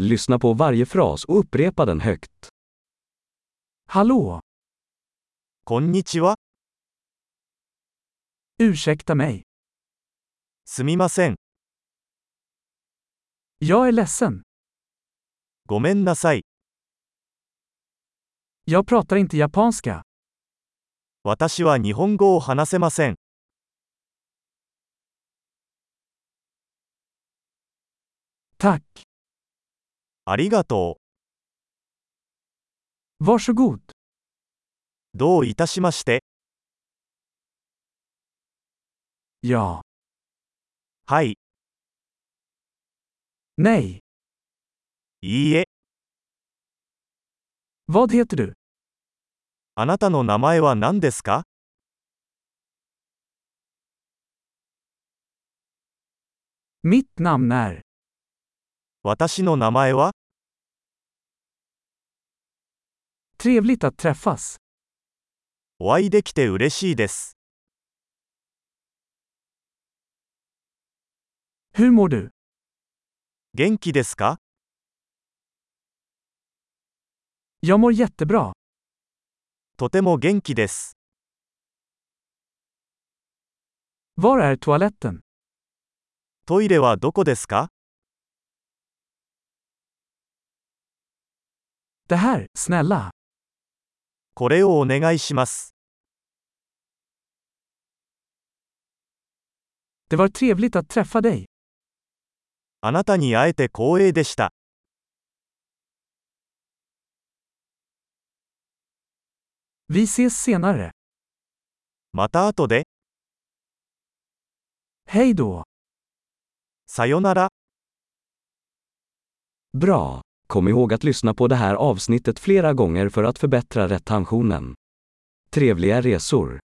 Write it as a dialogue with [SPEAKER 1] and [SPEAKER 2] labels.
[SPEAKER 1] Lyssna på varje fras och upprepa den högt. Hallå!
[SPEAKER 2] こんにちは。
[SPEAKER 1] Ursäkta mig.
[SPEAKER 2] すみません。
[SPEAKER 1] Jag är ledsen.
[SPEAKER 2] ごめんなさい。
[SPEAKER 1] Jag pratar inte japanska.
[SPEAKER 2] 私は日本語を話せません。
[SPEAKER 1] Tack.
[SPEAKER 2] ありがと
[SPEAKER 1] Varsågod.
[SPEAKER 2] う。どういたしまして。
[SPEAKER 1] Ja.
[SPEAKER 2] はい、
[SPEAKER 1] Nej.
[SPEAKER 2] いいえ。
[SPEAKER 1] Vad heter du?
[SPEAKER 2] あなたの名前は何ですか
[SPEAKER 1] Mitt namn är.
[SPEAKER 2] 私の名前は
[SPEAKER 1] Trevligt att träffas.
[SPEAKER 2] お会いできて嬉しいです。
[SPEAKER 1] Hur mår du?
[SPEAKER 2] 元気ですか
[SPEAKER 1] Jag mår jättebra.
[SPEAKER 2] とても元気です。
[SPEAKER 1] Var är toaletten?
[SPEAKER 2] トイレはどこですか
[SPEAKER 1] Det här, snälla.
[SPEAKER 2] これをお願いします。
[SPEAKER 1] Det var trevligt att träffa dig.
[SPEAKER 2] あなたに会えて光栄でした。
[SPEAKER 1] Vi ses senare.
[SPEAKER 2] また後で、
[SPEAKER 1] Hej då.
[SPEAKER 2] さよなら。
[SPEAKER 1] Bra! Kom ihåg att lyssna på det här avsnittet flera gånger för att förbättra retentionen. Trevliga resor!